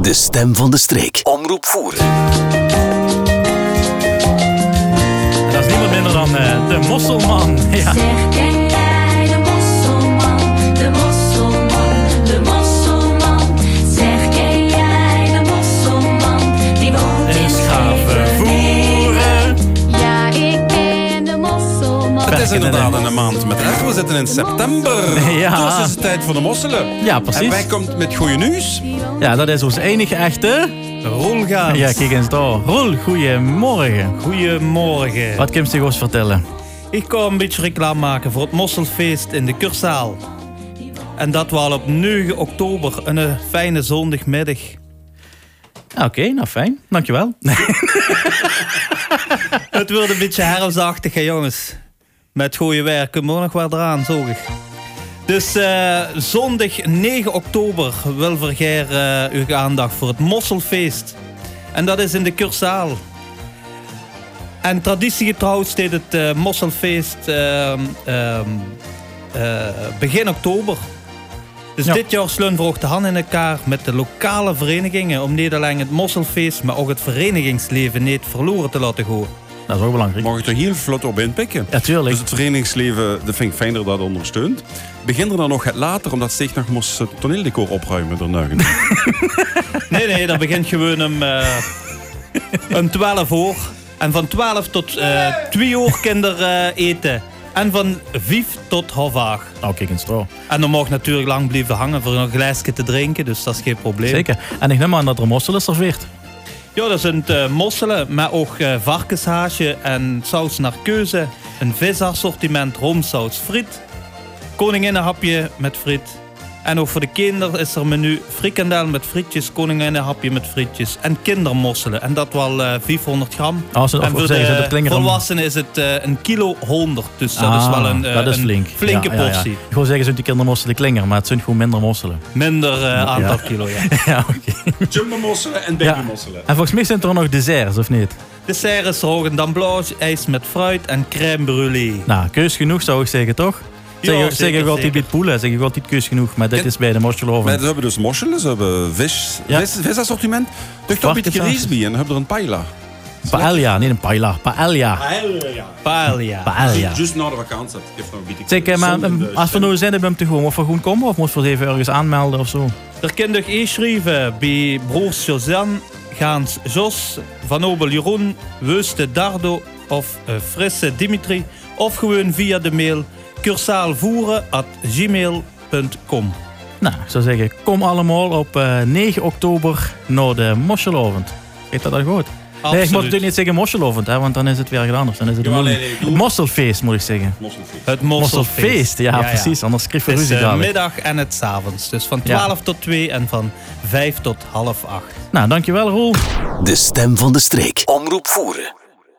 De stem van de streek. Omroep Voeren. Dat is niemand minder dan eh, de Mosselman. Ja. Zeg, ken jij de mosselman, de mosselman, de mosselman? Zeg, ken jij de mosselman, die woont in Is Scheveningen? voeren. Ja, ik ken de mosselman. Het is Werken inderdaad en- in een maand met echt. We zitten in september. Ja. Dus is het tijd voor de mosselen. Ja, precies. En wij komt met goede nieuws. ja, dat is ons enige echte. Roel gaat. Ja, kijk eens daar. Roel, goeiemorgen. Goedemorgen. Wat kun je ons vertellen? Ik kom een beetje reclame maken voor het Mosselfeest in de Kurzaal. En dat was op 9 oktober, een eh, fijne zondagmiddag. Oké, nou fijn. Dankjewel. Het wordt een beetje herfstachtig, hè jongens. Met goede werk, kunnen we nog wel eraan, zorg ik. Dus eh, zondag 9 oktober wil Vergeer eh, uw aandacht voor het Mosselfeest. En dat is in de Kurzaal. En traditiegetrouw steekt het eh, Mosselfeest ehm, ehm, eh, begin oktober. Dus Ja. dit jaar slun we ook de hand in elkaar met de lokale verenigingen... om niet alleen het Mosselfeest, maar ook het verenigingsleven niet verloren te laten gaan. Dat is ook belangrijk. Mag ik er heel vlot op inpikken? Ja, tuurlijk. Dus het verenigingsleven, dat vind ik fijn dat dat ondersteunt. Begin er dan nog het later, omdat Steeg nog moest het toneeldecor opruimen. daarna. Nee, nee, dat begint gewoon om, eh, om 12 uur. En van 12 tot eh 2 uur kinderen eh, eten. En van 5 tot half 8. Nou, kijk eens daar. En dan mag natuurlijk lang blijven hangen voor een glaasje te drinken, dus dat is geen probleem. Zeker. En ik neem aan dat er mosselen serveert. Ja, dat zijn eh, mosselen, maar ook eh, varkenshaasje en saus naar keuze. Een visassortiment, roomsaus, friet. Koninginnenhapje met friet. En ook voor de kinderen is er menu frikandel met frietjes, koninginnenhapje met frietjes en kindermosselen. En dat wel eh, 500 gram. Oh, ze- of- en of zeggen ze, dat klinkt erom. volwassenen is het eh, een kilo 100. Dus dat is wel een, eh, Ah, dat is een flink. flinke Ja, ja, ja. portie. Ik wil zeggen, zijn die kindermosselen klinger, maar het zijn gewoon minder mosselen. Minder eh, aantal kilo, ja. ja, oké. Jumbo-mosselen en Ja. baby-mosselen. En volgens mij zijn er ook nog desserts, of niet? Dessert is rogendan blanche, ijs met fruit en crème brûlée. Nou, keus genoeg zou ik zeggen, toch? Zeg, Ja, zeg zeker, ik altijd zeker. bij het poelen, zeg ik altijd keus genoeg. Maar dit Ja. is bij de Maar moscheloven. ze hebben dus mosselen, ze hebben vis, Ja. vis, visassortiment. Dus toch een beetje Varkenshaasjes. griesby en hebben er een paella. Paella, niet een paella. Paella. Paella. Paella. Paella. Just na de vakantie. Ik heb nog een beetje- Zeg, eh, maar Zon in de eh, als we stem. nou zijn, dan ben je te gewoon of we gewoon komen of moeten we even ergens aanmelden of zo? Er kan nog inschrijven bij broers Suzanne, Gaans Jos, Van Obel Jeroen, Weuste Dardo of eh, Frisse Dimitri. Of gewoon via de mail cursaalvoeren.gmail.com. Nou, ik zou zeggen, kom allemaal op eh, 9 oktober naar de Moschelovend. Heet dat dan goed? Nee, ik moet natuurlijk niet zeggen Moschelovend, hè, want dan is het weer gedaan. Of dan is het een Ja, nee, moeilijk- nee, doe- Mosselfeest, moet ik zeggen. Mosselfeest. Het Mosselfeest. Mosselfeest, ja, precies. Anders schrijf je Het is eh, ruzie de dadelijk. middag en het 's avonds. Dus van Ja. 12 tot 2 en van 5 tot half 8. Nou, dankjewel Roel. De stem van de streek. Omroep Voeren.